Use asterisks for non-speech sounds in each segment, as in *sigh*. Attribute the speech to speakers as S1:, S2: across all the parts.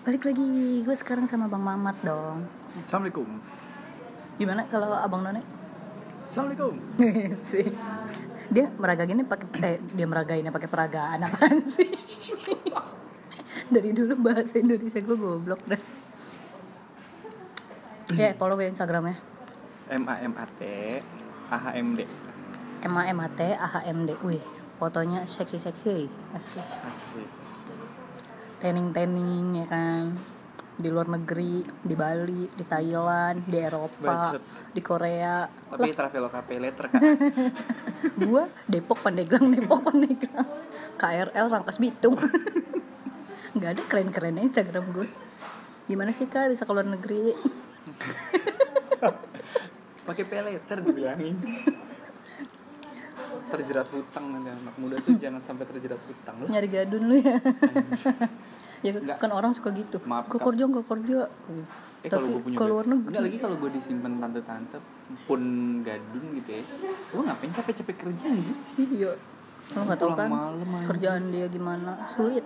S1: balik lagi gue sekarang sama bang Mamat dong
S2: Assalamualaikum
S1: gimana kalau abang *laughs* None
S2: Assalamualaikum
S1: sih dia meragainnya pakai eh dia meragainnya pakai peragaan apaan *laughs* sih dari dulu bahasa Indonesia gue goblok dah ya follow ya Instagramnya
S2: M A M A T A H M D
S1: M A M A T A H M D wih fotonya seksi seksi asik
S2: Asik
S1: tanning tanning ya kan di luar negeri di Bali di Thailand di Eropa
S2: Bacot.
S1: di Korea
S2: Tapi Traveloka pay letter kak
S1: gua Depok Pandeglang Depok Pandeglang KRL Rangkas Bitung nggak ada keren kerennya Instagram gue gimana sih kak bisa ke luar negeri
S2: *laughs* Pakai pay letter dibilangin *laughs* Terjerat hutang nanti anak muda tuh jangan sampai terjerat hutang loh
S1: nyari gadun lu ya ya
S2: Nggak.
S1: kan orang suka gitu
S2: Maaf,
S1: ke
S2: Kak.
S1: kerja nggak kerja
S2: Eh kalau
S1: tapi
S2: gue punya
S1: ke luar
S2: gadun- Nggak,
S1: negeri
S2: lagi kalau gue disimpan tante-tante pun gadun gitu ya Gue ngapain capek-capek kerja anjing
S1: iya lo nggak tahu
S2: Pulang
S1: kan
S2: malam, anjing.
S1: kerjaan dia gimana sulit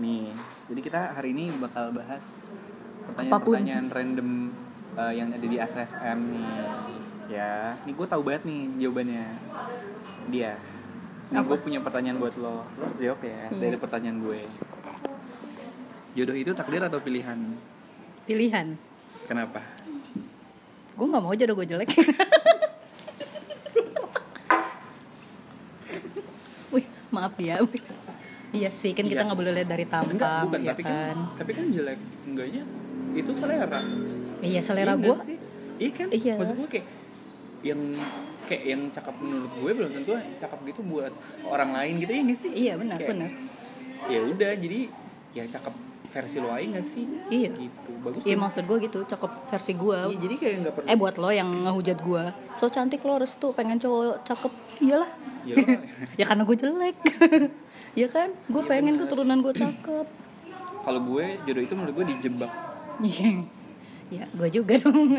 S2: Nih, jadi kita hari ini bakal bahas
S1: Apapun.
S2: pertanyaan-pertanyaan random eh, yang ada di SFM nih. Ya, nih gue tahu banget nih jawabannya dia. Nih gue punya pertanyaan buat lo, lo harus jawab ya
S1: Iya.
S2: dari pertanyaan gue. Jodoh itu takdir atau pilihan?
S1: pilihan
S2: Kenapa?
S1: gue nggak mau jodoh gue
S2: *laughs*
S1: jelek wih maaf ya wih. iya sih kan kita
S2: Iya.
S1: nggak boleh lihat dari tampang
S2: Enggak, bukan.
S1: ya
S2: tapi kan,
S1: kan
S2: tapi kan jelek enggaknya itu selera.
S1: iya selera
S2: Iya
S1: gue
S2: nggak sih? Iya kan?
S1: Iya.
S2: Maksud gue kayak yang kayak yang cakep menurut gue belum tentu cakep gitu buat orang lain gitu ya nggak sih?
S1: iya benar
S2: Kayak,
S1: benar
S2: Ya udah jadi yang cakep versi lo aja nggak sih?
S1: Iya.
S2: Gitu bagus.
S1: iya
S2: tuh.
S1: maksud gue gitu cakep versi gue
S2: Iya, jadi kayak nggak perlu.
S1: eh buat lo yang ngehujat gue so cantik lo harus tuh pengen cowok cakep iyalah
S2: Ya, lo-
S1: ya karena gue jelek *laughs* ya kan gue
S2: Iya,
S1: pengen
S2: benar.
S1: keturunan gue cakep *laughs*
S2: kalau gue jodoh itu menurut gue dijebak.
S1: ya gue juga
S2: *laughs*
S1: dong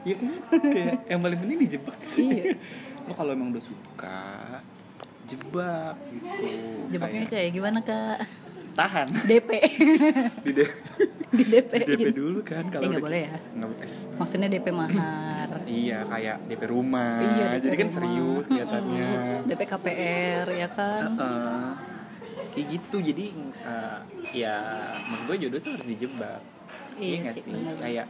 S2: Iya kan?
S1: *laughs*
S2: kayak yang paling penting dijebak sih.
S1: Iya.
S2: lo kalau emang udah suka jebak gitu.
S1: jebaknya kayak gimana kak *laughs*
S2: tahan
S1: DP
S2: di D-
S1: Eh, di DP
S2: di DP dulu kan kalau
S1: nggak
S2: udah-
S1: boleh ya?
S2: nggak boleh.
S1: maksudnya DP
S2: *clears throat*
S1: mahar
S2: Iya kayak DP rumah.
S1: DP
S2: Jadi kan
S1: Iya, rumah.
S2: serius Ah. kelihatannya.
S1: Mm-mm. DP KPR ya kan
S2: Heeh. Kayak gitu jadi eh, ya menurut gue jodoh tuh harus dijebak.
S1: Iya
S2: nggak
S1: sih, bener.
S2: Kayak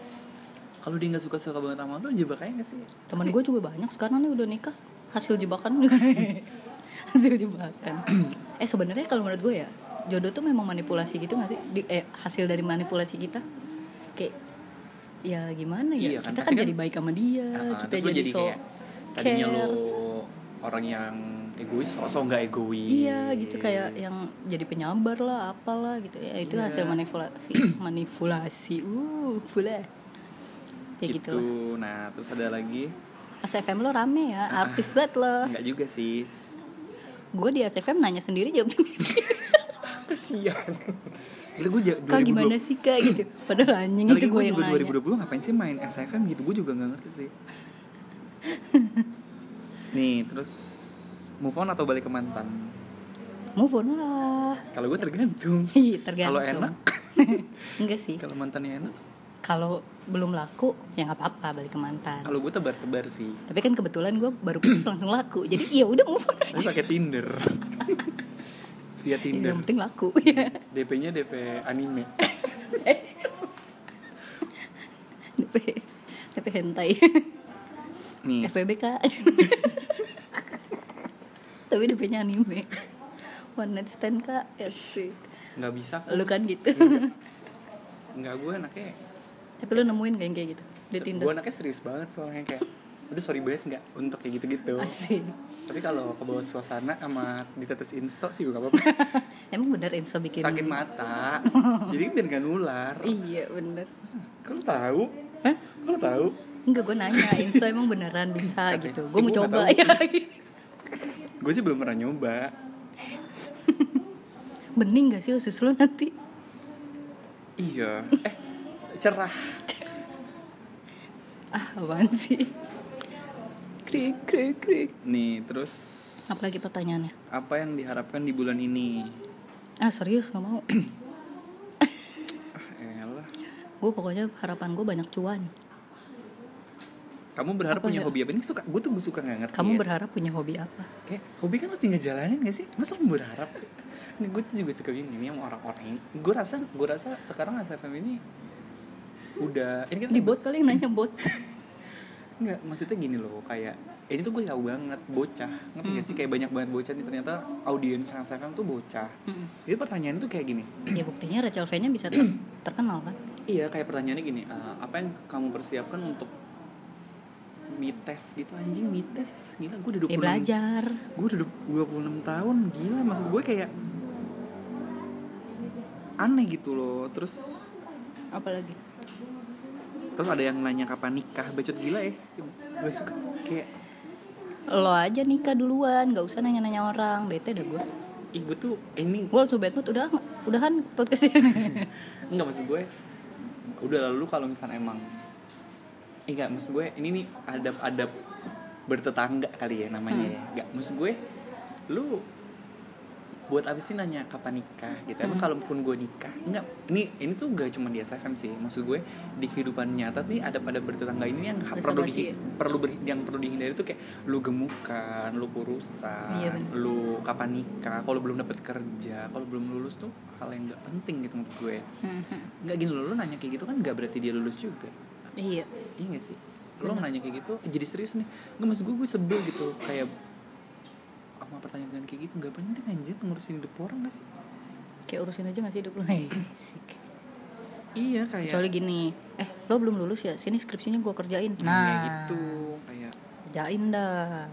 S2: kalau dia nggak suka suka banget sama lo jebak aja nggak sih?
S1: temen gue juga banyak sekarang nih udah nikah hasil jebakan *laughs* hasil jebakan *clears throat* eh sebenarnya kalau menurut gue ya jodoh tuh memang manipulasi gitu nggak sih Di- eh, hasil dari manipulasi kita kayak ya gimana ya
S2: Iya
S1: kita
S2: kan, pasti
S1: kan
S2: kan-
S1: jadi baik sama dia
S2: Heeh,
S1: kita
S2: terus lo
S1: jadi,
S2: jadi
S1: so
S2: kayak tadinya
S1: care.
S2: lo orang yang egois, sosok nggak egois.
S1: Iya gitu kayak yang jadi penyabar lah apalah gitu ya itu
S2: Iya.
S1: hasil manipulasi *clears throat* manipulasi uh boleh ya gitu,
S2: gitu. Nah terus ada lagi
S1: SFM lo rame
S2: Ah,
S1: ya artis banget lo
S2: nggak juga sih.
S1: gue di SFM nanya sendiri jawab
S2: *laughs*
S1: sendiri
S2: Kesian. Itu gue ja-
S1: kak
S2: 2020
S1: gimana sih kak gitu padahal anjing
S2: Lagi
S1: itu gue yang
S2: juga
S1: nanya
S2: 2020 ngapain sih main SFM gitu Gue juga gak ngerti sih
S1: *laughs*
S2: Nih terus Move on atau balik ke mantan
S1: move on lah *laughs*
S2: Kalau gue tergantung
S1: Ih, Iya, tergantung Iya.
S2: Kalau enak
S1: *laughs* enggak sih
S2: Kalau mantannya enak
S1: kalau belum laku ya nggak apa-apa balik ke mantan
S2: Kalau gue tebar-tebar sih
S1: tapi kan kebetulan gue baru putus langsung laku jadi iya udah move on
S2: Gue pakai Tinder
S1: *laughs*
S2: Via Tinder
S1: yang penting laku ya
S2: DP-nya DP
S1: *laughs*
S2: anime
S1: DP DP hentai
S2: Nih
S1: FBB kak tapi DP nya anime one night stand kak asik
S2: nggak bisa
S1: lu kan gitu
S2: Iya. Nggak gue anaknya
S1: tapi lu nemuin gak yang kayak gitu di Tinder
S2: Gue anaknya serius banget soalnya kayak Udah sorry banget nggak untuk kayak gitu-gitu
S1: asik
S2: Tapi kalau ke bawah suasana sama ditetes insta sih gak apa-apa
S1: emang bener Insta bikin
S2: sakit
S1: *laughs*
S2: mata jadi biar nggak nular
S1: iya Eh? bener
S2: kalau tahu
S1: Hah?
S2: kalau tahu
S1: enggak gue nanya Insta emang beneran bisa
S2: Tapi,
S1: gitu gue mau
S2: gua nggak
S1: coba
S2: tahu. Iya.
S1: ya
S2: gue sih belum pernah nyoba
S1: *laughs* bening gak sih usus lu nanti
S2: iya eh cerah
S1: ah apaan sih krik krik krik
S2: nih terus
S1: apalagi pertanyaannya
S2: apa yang diharapkan di bulan ini
S1: ah serius gak mau
S2: Ah,
S1: gue pokoknya harapan gue banyak cuan
S2: Kamu berharap
S1: Apa ya?
S2: punya hobi apa? Ini suka, gue tuh suka gak ngerti
S1: kamu
S2: ya.
S1: berharap punya hobi apa
S2: Kayak hobi kan lo tinggal jalanin gak sih? Masa lo berharap? Ini gue tuh juga suka bingung ini sama orang-orang ini. Gue rasa, gue rasa sekarang SFM ini udah ini kan
S1: di bot kali yang nanya bot
S2: Enggak, maksudnya gini loh, kayak ini tuh gue tahu banget bocah. Ngerti gak sih kayak banyak banget bocah nih ternyata audiens SFM tuh bocah.
S1: Mm-mm.
S2: Jadi pertanyaan tuh kayak gini.
S1: ya buktinya Rachel V nya bisa ter- terkenal kan
S2: Iya, kayak pertanyaannya gini, "Eh, apa yang kamu persiapkan untuk mites gitu anjing mites gila gue udah
S1: ya
S2: 26
S1: belajar
S2: gue udah 26 tahun gila maksud gue kayak aneh gitu loh terus
S1: apalagi
S2: terus ada yang nanya kapan nikah bacot gila ya gue suka kayak
S1: lo aja nikah duluan gak usah nanya nanya orang bete dah gue
S2: ih gue tuh eh, ini
S1: gue langsung bad mood udah udahan podcast ini
S2: Enggak maksud gue udah lalu kalau misalnya emang Eh, enggak maksud gue ini nih adab-adab bertetangga kali ya namanya
S1: Hmm.
S2: ya. Enggak maksud gue lu buat apa sih nanya kapan nikah gitu
S1: Hmm.
S2: emang kalau pun gue nikah enggak ini ini tuh gak cuma di SFM sih maksud gue di kehidupan nyata nih adab-adab bertetangga ini yang ha-
S1: Basa
S2: perlu
S1: basi
S2: di
S1: ya?
S2: perlu berhi- yang perlu dihindari tuh kayak lu gemukan lu kurusan
S1: Iya, bener.
S2: lu kapan nikah kalau belum dapat kerja kalau belum lulus tuh hal yang nggak penting gitu menurut gue nggak gini loh, lo nanya kayak gitu kan nggak berarti dia lulus juga
S1: iya
S2: iya gak sih lo nanya kayak gitu jadi serius nih nggak maksud gue gue sebel gitu kayak sama pertanyaan-pertanyaan kayak gitu nggak penting anjir ngurusin hidup orang gak sih
S1: kayak urusin aja gak sih hidup lo
S2: iya kayak
S1: kecuali gini eh lo belum lulus ya sini skripsinya gue kerjain
S2: nah. kayak
S1: nah
S2: gitu kayak
S1: kerjain dah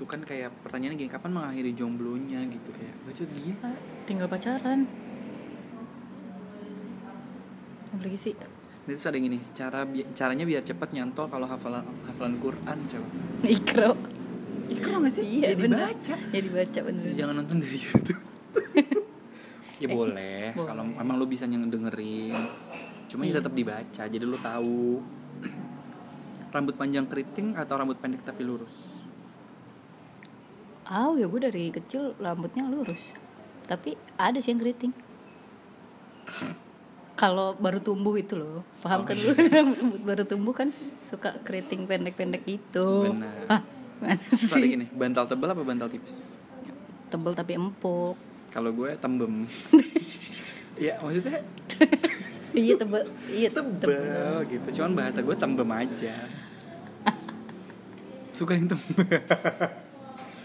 S2: itu kan kayak pertanyaannya gini kapan mengakhiri jomblonya gitu kayak bacot gila
S1: tinggal pacaran apalagi sih *laughs*
S2: Nah, terus ada yang gini cara bi- caranya biar cepat nyantol kalau hafalan hafalan Quran coba
S1: ikro
S2: ikro gak sih
S1: iya
S2: Jadi
S1: bener
S2: baca.
S1: ya dibaca bener
S2: jangan nonton dari YouTube *laughs* ya boleh
S1: boleh.
S2: kalau emang lo bisa yang dengerin cuma ya tetap dibaca jadi lo tahu *clears throat* rambut panjang keriting atau rambut pendek tapi *laughs* lurus
S1: Ah, ya gue dari kecil rambutnya lurus. Tapi ada sih yang keriting. *laughs* Kalau baru tumbuh itu loh, paham kan lu *laughs* rambut baru tumbuh kan suka keriting pendek-pendek gitu.
S2: Benar.
S1: Hah, mana
S2: terus ada
S1: sih?
S2: gini bantal tebal apa bantal tipis
S1: Tebel tapi empuk. *laughs*
S2: kalau gue *laughs* tembem ya maksudnya
S1: iya tebel, iya tebel.
S2: tebal gitu cuman bahasa gue tembem *laughs* aja suka yang tembem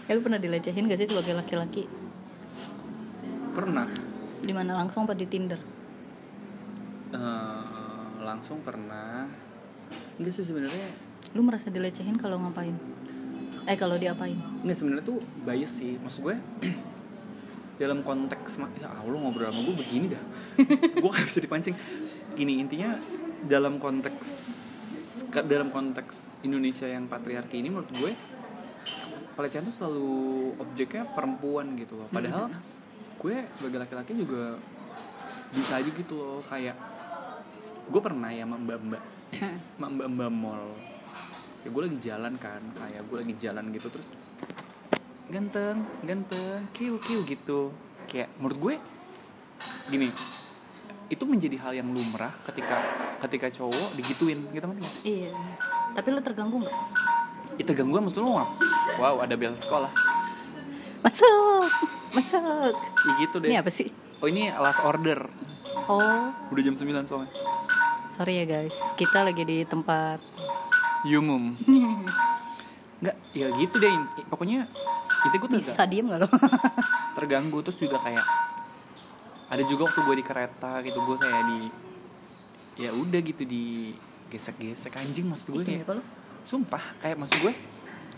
S1: Ya lu pernah dilecehin gak sih sebagai laki-laki?
S2: pernah
S1: Di mana langsung apa di Tinder?
S2: Eh, langsung pernah enggak sih sebenarnya
S1: Lu merasa dilecehin kalau ngapain? Eh kalau diapain?
S2: Nggak sebenarnya tuh bias sih Maksud gue *clears throat* dalam konteks ma- ya Allah ngobrol sama gue begini dah *laughs* gue gak bisa dipancing gini intinya dalam konteks ke- dalam konteks Indonesia yang patriarki ini menurut gue pelecehan tuh selalu objeknya perempuan gitu loh padahal gue sebagai laki-laki juga bisa aja gitu loh kayak gue pernah ya sama mbak-mbak sama mbak-mbak mall ya gue lagi jalan kan kayak gue lagi jalan gitu terus ganteng ganteng kiu kiu gitu kayak menurut gue gini itu menjadi hal yang lumrah ketika ketika cowok digituin gitu kan mas
S1: Iya. Tapi lu terganggu nggak?
S2: itu gangguan maksud lo ngap- wow ada bel sekolah
S1: Masuk, *laughs* masuk.
S2: ya gitu deh
S1: Ini apa sih?
S2: oh ini last order
S1: Oh,
S2: udah jam 9 soalnya
S1: sorry ya guys, kita lagi di *laughs* tempat
S2: yumum Iya, nggak ya gitu deh in- pokoknya itu gue tuh
S1: bisa diem gak lo?
S2: terganggu terus juga kayak ada juga waktu gue di kereta gitu gue kayak di ya udah gitu di gesek-gesek anjing maksud
S1: *laughs* Ih,
S2: gue kayak
S1: kenapa lo?
S2: sumpah kayak maksud gue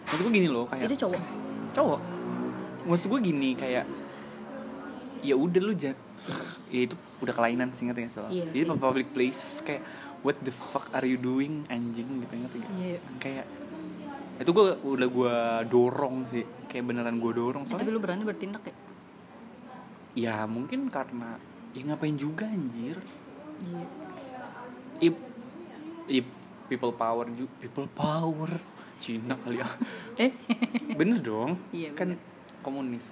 S2: maksud gue gini loh kayak
S1: Itu cowok.
S2: cowok maksud gue gini kayak ya udah lu jangan ya itu udah kelainan sih ngerti gak sih lo?
S1: Iya
S2: jadi
S1: sih.
S2: public places kayak what the fuck are you doing anjing gitu ngerti gak
S1: Iya.
S2: kayak itu gue udah gue dorong sih kayak beneran gue dorong
S1: Eh, tapi lu berani bertindak ya?
S2: ya mungkin karena ya ngapain juga anjir
S1: Iya.
S2: if if people power juga people power Cina kali ya
S1: Eh,
S2: bener dong
S1: Iya,
S2: kan komunis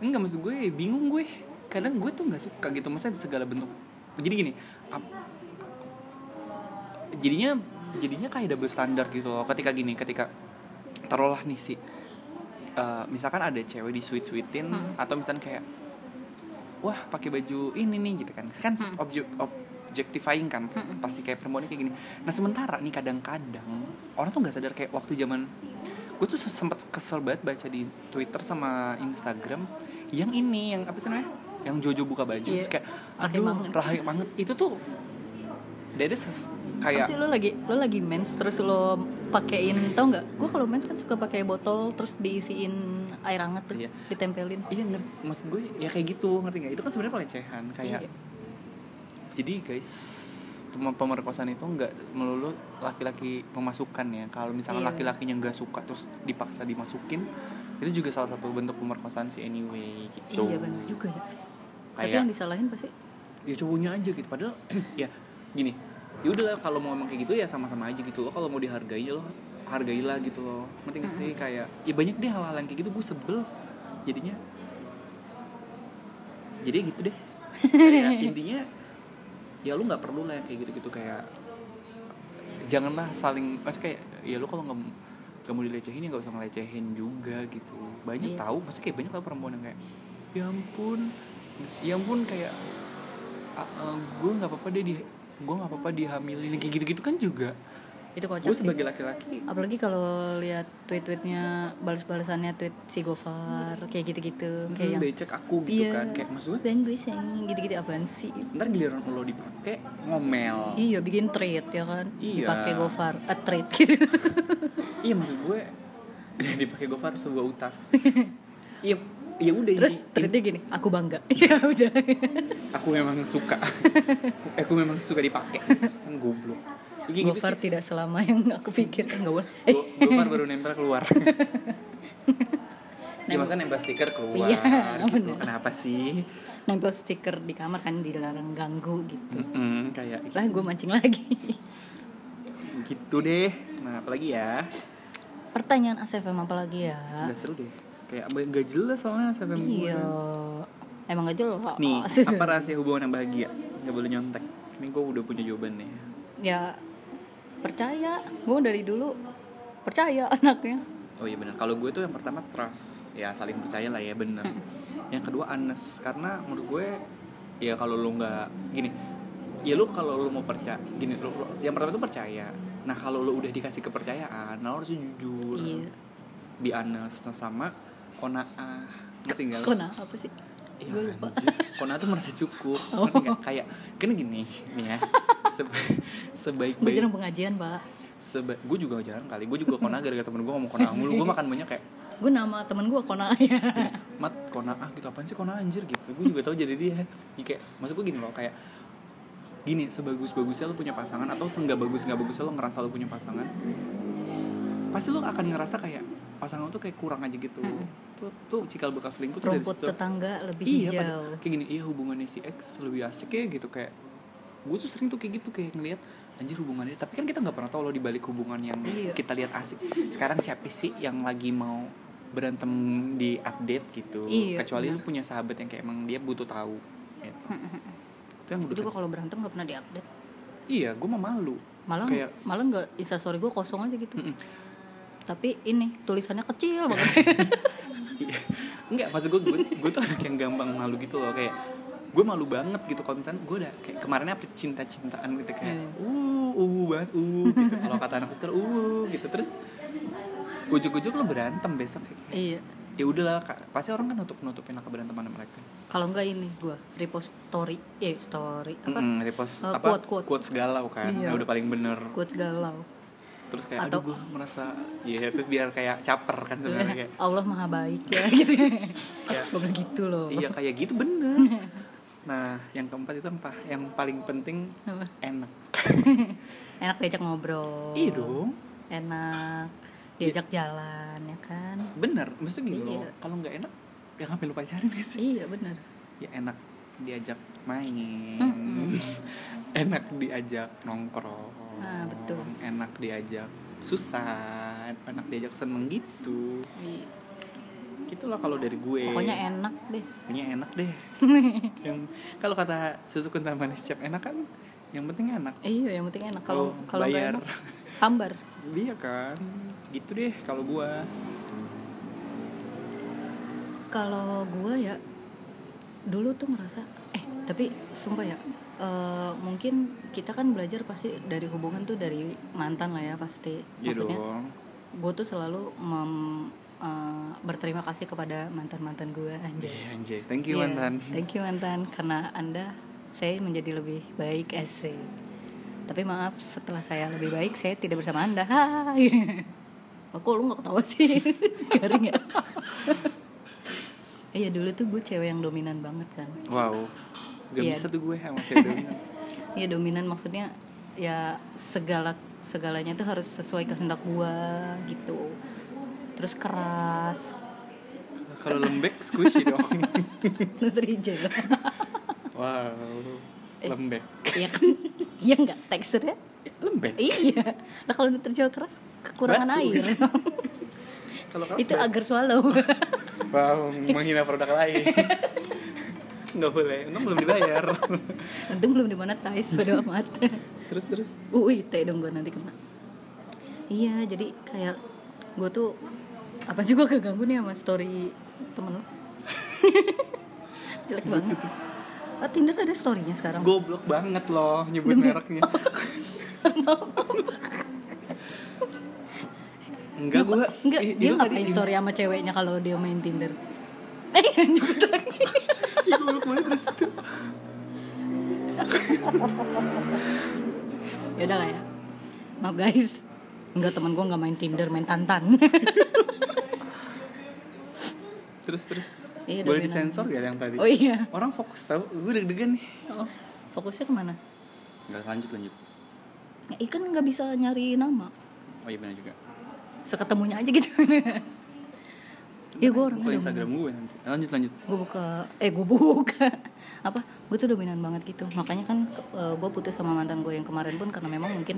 S2: enggak maksud gue bingung gue kadang gue tuh nggak suka gitu maksudnya segala bentuk jadi gini ap- jadinya jadinya kayak double standar gitu loh ketika gini ketika taruhlah nih si eh, misalkan ada cewek di sweet sweetin
S1: Hmm.
S2: atau misalkan kayak wah pakai baju ini nih gitu kan kan
S1: Hmm.
S2: obje- objectifying kan pasti,
S1: Hmm.
S2: pasti kayak perempuannya kayak gini nah sementara nih kadang-kadang orang tuh nggak sadar kayak waktu zaman gue tuh sempet kesel banget baca di Twitter sama Instagram yang ini yang apa sih namanya yang Jojo buka baju
S1: Iya.
S2: terus kayak
S1: Pakai
S2: aduh
S1: banget."
S2: rahai banget itu tuh dari
S1: Kayak...
S2: kayak
S1: sih lo lagi lo lagi mens terus lo pakein tau nggak? Gue kalau mens kan suka pakai botol terus diisiin air hangat tuh,
S2: Iya.
S1: ditempelin.
S2: iya ngerti maksud gue ya kayak gitu ngerti nggak itu kan sebenarnya pelecehan kayak
S1: Iya.
S2: jadi guys pem- pemerkosaan itu nggak melulu laki-laki memasukkan ya kalau misalkan
S1: Iya.
S2: laki-lakinya nggak suka terus dipaksa dimasukin itu juga salah satu bentuk pemerkosaan sih anyway gitu
S1: Iya benar juga ya. Tapi
S2: Kayak-
S1: yang disalahin pasti
S2: ya cowoknya aja gitu padahal *clears throat* ya gini ya udahlah kalau mau emang kayak gitu ya sama-sama aja gitu loh kalau mau dihargai ya lo hargailah gitu loh ngerti gak sih kayak ya banyak deh hal-hal yang kayak gitu gue sebel jadinya jadi gitu deh Kayak
S1: *laughs*
S2: intinya ya lu nggak perlu lah yang kayak gitu-gitu kayak janganlah saling pasti kayak ya lu kalau nggak nggak mau dilecehin ya nggak usah ngelecehin juga gitu banyak
S1: Iya sih.
S2: tahu pasti kayak banyak tahu perempuan yang kayak ya ampun ya ampun kayak "A- eh, gue nggak apa-apa deh di gue nggak apa-apa dihamilin kayak gitu-gitu kan juga
S1: itu kocak
S2: gue
S1: sih.
S2: sebagai laki-laki
S1: Apalagi kalau lihat tweet-tweetnya, balas-balasannya tweet si Gofar kayak gitu-gitu,
S2: hmm,
S1: kayak yang
S2: becek aku gitu
S1: Iya.
S2: kan kayak maksud gue
S1: dan gue sayang gitu-gitu apaan sih?
S2: ntar giliran lo dipakai ngomel
S1: Iya bikin trade ya kan,
S2: Iya.
S1: dipakai Gofar, a trade gitu.
S2: Iya maksud *laughs* gue dipakai Gofar sebuah
S1: *laughs*
S2: utas. Iya Iya, ya udah
S1: Terus
S2: ini- ini-
S1: tweetnya gini, aku bangga. *laughs* Ya udah.
S2: aku memang
S1: *laughs*
S2: suka. aku memang suka dipakai. Kan goblok. Ya, kayak
S1: Gofar
S2: sih.
S1: tidak selama yang aku pikirkan nggak boleh. Eh,
S2: Go- Gofar baru nempel
S1: *laughs*
S2: keluar. Ya
S1: Nempel.
S2: maksudnya nempel stiker keluar.
S1: Iya,
S2: gitu.
S1: bener.
S2: Kenapa sih?
S1: nempel stiker di kamar kan dilarang ganggu gitu.
S2: Mm-mm, kayak
S1: Lah gue mancing lagi. *laughs*
S2: gitu deh. Nah, apalagi ya?
S1: Pertanyaan ASFM apa lagi ya?
S2: Gak seru deh. Kayak gak jelas soalnya sampai
S1: Iya. Emang gak jelas. *laughs*
S2: Nih, apa rahasia hubungan yang bahagia? Gak boleh nyontek. Ini gue udah punya jawabannya.
S1: ya percaya gue dari dulu percaya *laughs* anaknya
S2: Oh iya benar. Kalau gue tuh yang pertama trust, ya saling percaya lah ya benar. Yang kedua honest karena menurut gue ya kalau lo nggak gini, ya lo kalau lo mau percaya gini, lo, lo- yang pertama itu percaya. Nah kalau lo udah dikasih kepercayaan, nah lo harus jujur,
S1: iya
S2: be honest Nah, sama konaah ngerti nggak? lo?
S1: kena apa sih
S2: Iya,
S1: Gue lupa.
S2: anjir. Kona tuh merasa cukup.
S1: Oh.
S2: Ngerti nggak? Kayak kan gini nih ya. sebaik
S1: gue
S2: baik
S1: jarang pengajian pak
S2: seba, gue juga jarang kali gue juga kona gara-gara temen gue ngomong kona mulu gue makan banyak kayak
S1: gue nama temen gue kona *laughs* ya
S2: mat kona ah gitu apaan sih kona anjir gitu gue juga tahu jadi dia jadi kayak maksud gue gini loh kayak gini sebagus bagusnya lo punya pasangan atau seenggak bagus nggak bagusnya lo ngerasa lo punya pasangan pasti lo akan ngerasa kayak pasangan lo tuh kayak kurang aja gitu
S1: Mm.
S2: tuh tuh cikal bakal selingkuh tuh dari
S1: rumput
S2: situ.
S1: tetangga lebih
S2: iya
S1: hijau
S2: pada- kayak gini iya hubungannya si X lebih asik ya gitu kayak gue tuh sering tuh kayak gitu kayak ngelihat anjir hubungannya tapi kan kita nggak pernah tahu loh di balik hubungan yang
S1: Iya.
S2: kita lihat asik sekarang siapa sih yang lagi mau berantem di update gitu
S1: Iya,
S2: kecuali lu
S1: benar.
S2: punya sahabat yang kayak emang dia butuh tahu gitu. itu yang
S1: *laughs* itu gue
S2: butuh
S1: kalau berantem gak pernah diupdate
S2: iya gue mah malu
S1: malah
S2: Kayak-
S1: malah nggak instastory gue kosong aja gitu
S2: Mm-mm.
S1: tapi ini tulisannya kecil
S2: *laughs*
S1: banget
S2: Iya. Enggak, maksud gue, gue, gue tuh anak yang gampang malu gitu loh Kayak gue malu banget gitu kalau misalnya gue udah kayak kemarinnya apa cinta-cintaan gitu kayak
S1: Hmm.
S2: uh uh banget uh gitu kalau kata anak kecil uh gitu terus ujuk-ujuk lo berantem besok kayak
S1: iya
S2: ya udahlah Kak. pasti orang kan nutup nutupin lah keberanteman mereka
S1: kalau nggak ini gue repost story eh story apa
S2: Mm-mm, Hmm, repost
S1: Eh,
S2: apa
S1: quote, quote.
S2: quotes galau kan
S1: Iya.
S2: Nah, udah paling bener
S1: quotes galau
S2: terus kayak
S1: Atau- Iya.
S2: aduh gue merasa ya terus biar kayak caper kan sebenarnya kayak
S1: Allah maha baik
S2: *laughs*
S1: ya gitu
S2: Kayak-
S1: gue bilang gitu loh *laughs*
S2: iya kayak gitu bener nah yang keempat itu yang, pa- yang paling penting
S1: Apa? Oh.
S2: enak
S1: enak diajak ngobrol
S2: Iya dong,
S1: enak diajak jalan ya kan
S2: bener. Maksudnya gini loh,
S1: Iya.
S2: kalau nggak enak, ya ngapain lu pacarin *laughs* gitu?
S1: iya bener
S2: Ya enak diajak main,
S1: Mm-mm.
S2: *laughs* enak diajak nongkrong,
S1: Ah, betul.
S2: enak diajak susah, enak diajak seneng gitu.
S1: Iya.
S2: gitulah kalau dari gue
S1: Pokoknya e- enak deh.
S2: Pokoknya enak
S1: *laughs*
S2: deh yang kalau kata susu kental manis siap enak kan yang penting enak
S1: Eh, iya, yang penting enak. Kalau
S2: Kalau
S1: kalau nggak
S2: bayar.
S1: enak, hambar.
S2: iya kan gitu deh kalau gua
S1: Kalau gua ya dulu tuh ngerasa eh tapi sumpah ya eh, mungkin kita kan belajar pasti dari hubungan tuh dari mantan lah ya pasti.
S2: ya
S1: Maksudnya
S2: dong
S1: gue tuh selalu mem- eh, berterima kasih kepada mantan mantan gue anjay.
S2: Iya, anjay thank you
S1: Iya,
S2: mantan
S1: Thank you mantan karena Anda saya menjadi lebih baik asik. Tapi maaf setelah saya lebih baik saya tidak bersama Anda. Hai. *laughs* Oh, Kok lu gak ketawa sih? *laughs* Garing ya. Iya dulu tuh gue cewek yang dominan banget kan.
S2: wow gak
S1: Iya.
S2: bisa tuh gue sama cewek
S1: *laughs*
S2: dominan.
S1: Iya dominan maksudnya ya segala segalanya tuh harus sesuai kehendak gua gitu. Terus keras, *laughs*
S2: kalau lembek squishy dong
S1: nutrigen.
S2: wow lembek Eh,
S1: Iya kan? Iya enggak teksturnya
S2: lembek
S1: Iya. Nah kalau terjual keras kekurangan
S2: Batu.
S1: air.
S2: kalau keras
S1: itu
S2: lembek.
S1: agar swallow. *laughs*
S2: Wow, menghina produk lain. Nggak boleh, untung belum
S1: *laughs*
S2: dibayar.
S1: Untung belum dimonetize bodo amat. *laughs*
S2: terus terus.
S1: UIT dong gue nanti kena. Iya, jadi kayak gue tuh apa juga keganggu nih sama story temen lo. *laughs* Jelek banget. Oh, Tinder ada storynya sekarang.
S2: Goblok banget loh nyebut mereknya. *laughs* Enggak gue
S1: Enggak, dia ngapain story sama ceweknya kalau dia main Tinder.
S2: Iya goblok banget terus itu
S1: ya udah lah ya maaf guys enggak teman gue nggak main tinder main tantan *laughs*
S2: Terus terus
S1: Iya, dominan.
S2: Boleh disensor gak yang tadi?
S1: oh iya
S2: Orang fokus tau, gue deg-degan nih
S1: oh, fokusnya kemana
S2: Enggak lanjut lanjut
S1: ya, ikan nggak bisa nyari nama
S2: Oh iya benar juga
S1: seketemunya aja
S2: *laughs*
S1: gitu ya gue orang
S2: Buka Instagram gue nanti Lanjut lanjut
S1: gue buka eh gue buka *laughs* apa gue tuh dominan banget gitu makanya kan gue putus sama mantan gue yang kemarin pun karena memang mungkin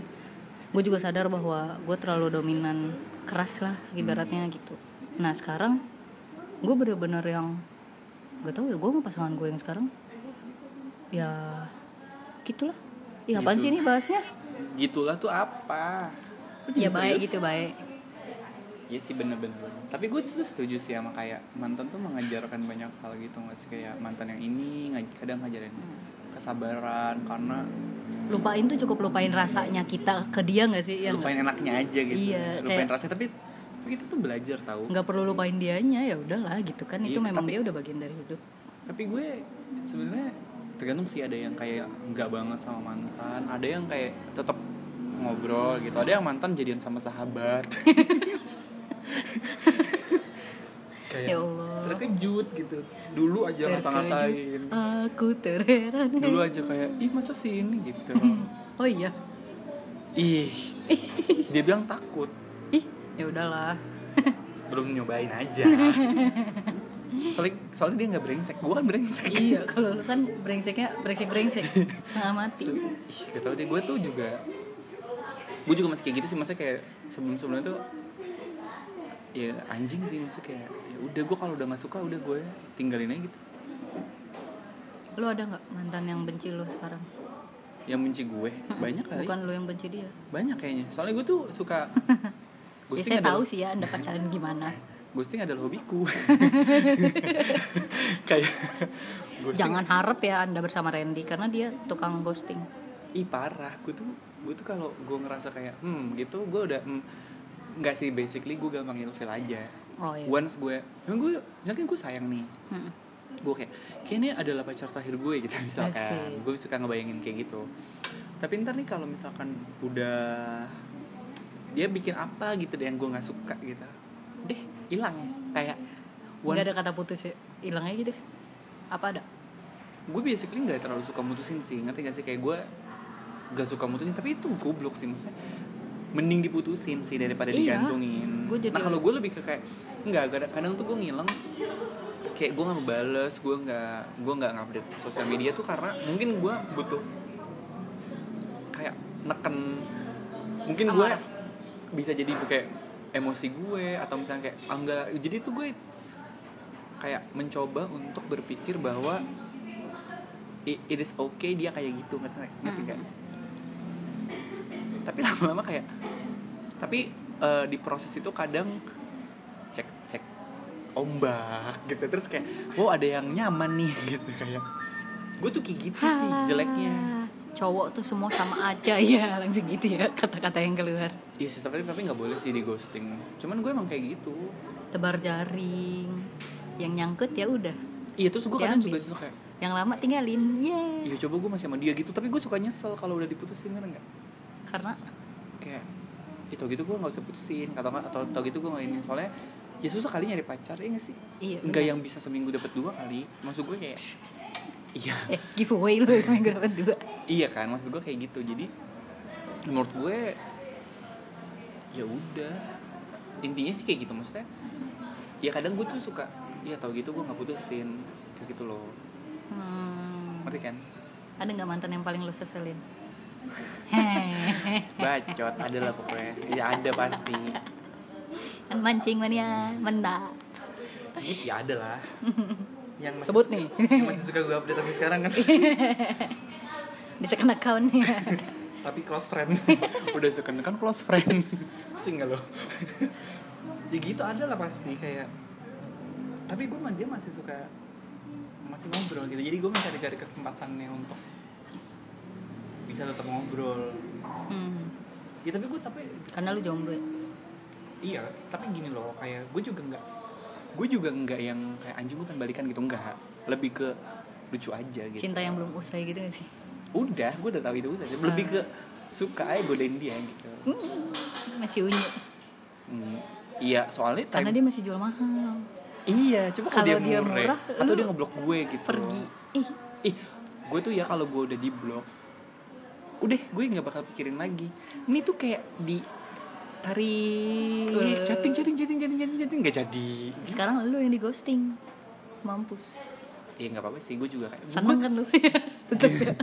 S1: gue juga sadar bahwa gue terlalu dominan keras lah ibaratnya
S2: Hmm.
S1: gitu nah sekarang gue bener-bener yang gak tau ya gue sama pasangan gue yang sekarang ya gitulah ya apaan
S2: Gitu.
S1: sih ini bahasnya
S2: Gitulah tuh apa? Lu jadi
S1: ya baik
S2: Iya, serius?
S1: gitu baik
S2: Iya sih bener-bener Tapi gue tuh setuju sih sama kayak Mantan tuh mengajarkan banyak hal gitu nggak sih Kayak mantan yang ini ngaj- kadang ngajarin
S1: Hmm.
S2: kesabaran Karena
S1: lupain tuh cukup lupain rasanya kita ke dia nggak sih ya
S2: lupain enaknya aja gitu
S1: Iya,
S2: Lupain
S1: kayak-
S2: rasanya tapi, tapi kita tuh belajar tahu
S1: nggak perlu lupain dianya ya udahlah gitu kan itu
S2: Iya,
S1: memang
S2: tapi-
S1: dia udah bagian dari hidup
S2: Tapi gue sebenarnya tergantung sih ada yang kayak nggak banget sama mantan Ada yang kayak tetap ngobrol gitu Ada yang mantan jadian sama sahabat
S1: ya
S2: *laughs* Kayak
S1: allah
S2: terkejut gitu Dulu aja ngata-ngatain
S1: Terkejut aku terheran
S2: Dulu aja kayak, ih masa sih ini
S1: *laughs*
S2: gitu
S1: oh iya
S2: Ih, dia bilang takut.
S1: ih ya udahlah
S2: Belum nyobain
S1: *laughs*
S2: aja. soalnya, soalnya dia nggak brengsek, gue kan brengsek.
S1: iya kalau lu kan brengseknya brengsek
S2: *laughs*
S1: brengsek setengah mati
S2: So, ih, gak tau deh, gue tuh juga... Gue juga masih kayak gitu sih, maksudnya kayak sebelum-sebelumnya tuh... Ya anjing sih, maksudnya kayak... Ya udah, gue kalau udah nggak suka, udah gue tinggalin aja gitu.
S1: lu ada nggak mantan yang benci lu sekarang
S2: Yang benci gue, banyak kali.
S1: bukan lu yang benci dia
S2: Banyak kayaknya. Soalnya gue tuh
S1: *laughs*
S2: suka...
S1: ya, saya
S2: Ghosting
S1: tahu
S2: adalah,
S1: sih ya anda pacaran gimana
S2: ghosting adalah
S1: *laughs*
S2: hobiku. *laughs* kayak... ghosting
S1: jangan harap ya anda bersama Randy karena dia tukang ghosting
S2: ih parah gue tuh gue tuh kalau gue ngerasa kayak hmm gitu gue udah hmm, nggak sih basically gue gampang ilfil aja
S1: oh iya
S2: once gue emang gue misalkan gue sayang nih
S1: Mm.
S2: gue kayak kayaknya adalah pacar terakhir gue gitu misalkan
S1: Asik.
S2: gue suka ngebayangin kayak gitu tapi ntar nih kalau misalkan udah dia bikin apa gitu deh yang gue nggak suka gitu deh hilang kayak
S1: nggak
S2: once
S1: ada kata putus ya hilang aja gitu apa ada
S2: gue basically nggak terlalu suka mutusin sih ngerti gak sih kayak gue gak suka mutusin tapi itu goblok sih maksudnya mending diputusin sih daripada
S1: Iya.
S2: digantungin
S1: Gua jadi-
S2: nah kalau gue lebih ke kayak nggak kadang, kadang tuh gue ngilang kayak gue nggak ngebales gue nggak gue nggak ngupdate sosial media tuh karena mungkin gue butuh kayak neken mungkin gue
S1: Amarah.
S2: bisa jadi kayak emosi gue atau misalnya kayak ah, enggak jadi tuh gue kayak mencoba untuk berpikir bahwa i- it is okay dia kayak gitu ngerti nggak? Ngerti nggak? Tapi *laughs* lama-lama kayak tapi eh, di proses itu kadang cek cek ombak gitu terus kayak wow ada yang nyaman nih *laughs* gitu kayak gue tuh kayak gitu sih jeleknya
S1: Halah, cowok tuh semua sama aja *laughs* ya langsung gitu ya kata-kata yang keluar
S2: Iya sih, tapi tapi nggak boleh sih di ghosting. Cuman gue emang kayak gitu.
S1: tebar jaring yang nyangkut ya udah
S2: Iya terus gue kadang juga
S1: Diambil.
S2: suka kayak,
S1: yang lama tinggalin yeay
S2: iya coba gue masih sama dia gitu, tapi gue suka nyesel kalau udah diputusin kan enggak.
S1: karena
S2: Kayak itu gitu gue nggak usah putusin, atau nggak- atau atau gitu gue nggak ini soalnya ya susah kali nyari pacar ya nggak sih?
S1: iya
S2: Nggak
S1: bener.
S2: yang bisa seminggu dapat dua kali. Maksud gue kayak iya
S1: eh giveaway *laughs* lu minggu dapat dua
S2: iya kan maksud gue kayak gitu jadi menurut gue ya udah intinya sih kayak gitu maksudnya ya kadang gue tuh suka ya tau gitu gue nggak putusin kayak gitu loh
S1: hmm,
S2: ngerti kan
S1: ada nggak mantan yang paling lu seselin Hehehe.
S2: bacot ada lah pokoknya ya ada pasti
S1: kan *laughs* mancing mania menda
S2: ya ada lah yang masih
S1: Sebut
S2: suka-
S1: nih.
S2: yang masih suka gue update tapi sekarang *laughs* kan
S1: di second account *laughs* ya
S2: tapi close friend *laughs* udah suka kan close friend pusing gak lo ya gitu ada lah pasti kayak tapi gue sama dia masih suka masih ngobrol gitu jadi gue mencari-cari kesempatannya untuk bisa tetap ngobrol
S1: hmm,
S2: ya tapi gue tapi
S1: karena lu jomblo ya
S2: iya tapi gini loh kayak gue juga nggak gue juga nggak yang kayak anjing gue pengen balikan gitu nggak lebih ke lucu aja gitu
S1: cinta yang belum usai gitu gak sih
S2: udah gue udah tahu itu saja lebih ke suka aja godain dia gitu
S1: Hmm, masih unyu
S2: Hmm, iya soalnya time-
S1: karena dia masih jual mahal
S2: Iya, coba kalau dia,
S1: Kalau dia
S2: murah,
S1: murah,
S2: atau
S1: lu
S2: dia ngeblok gue gitu.
S1: pergi ih
S2: Ih, gue tuh ya kalau gue udah di blok, udah gue nggak bakal pikirin lagi. Ini tuh kayak di tarik
S1: Eh.
S2: chatting chatting chatting chatting chatting chatting nggak jadi.
S1: sekarang lu yang di ghosting mampus
S2: Ya Iya, nggak apa-apa sih, gue juga kayak.
S1: seneng
S2: Gue,
S1: kan lu *laughs* tetep ya